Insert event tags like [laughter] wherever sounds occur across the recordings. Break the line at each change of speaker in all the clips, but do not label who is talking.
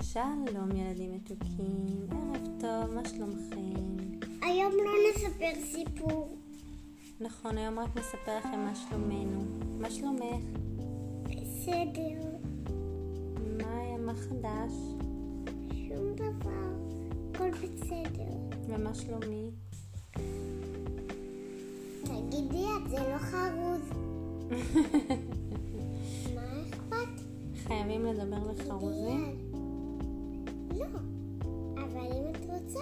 שלום ילדים מתוקים, ערב טוב, מה שלומכם?
היום לא נספר סיפור.
נכון, היום רק נספר לכם מה שלומנו. מה שלומך?
בסדר,
מה היה, מה חדש?
שום דבר. הכל בסדר.
ומה שלומי? [laughs]
תגידי, את זה לא חרוז. מה אכפת?
חייבים לדבר לחרוזים?
תגידי, לא, אבל אם את רוצה,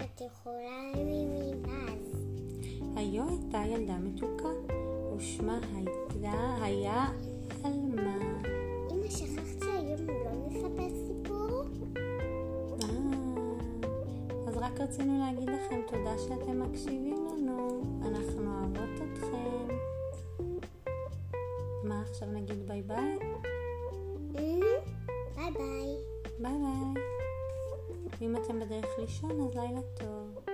את יכולה ממיבאז.
היו הייתה ילדה מתוקה, ושמה הייתה, היה עלמה.
אמא, שכחת שהיום לא נספר סיפור?
אה, אז רק רצינו להגיד לכם תודה שאתם מקשיבים לנו, אנחנו אוהבות אתכם. מה עכשיו נגיד ביי ביי?
ביי ביי.
ביי ביי. אם אתם בדרך לישון, אז לילה טוב.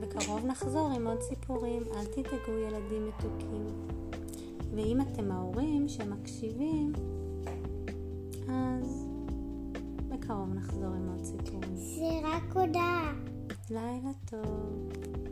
בקרוב נחזור עם עוד סיפורים, אל תדאגו ילדים מתוקים. ואם אתם ההורים שמקשיבים, אז בקרוב נחזור עם עוד סיפורים.
זה רק הודעה.
לילה טוב.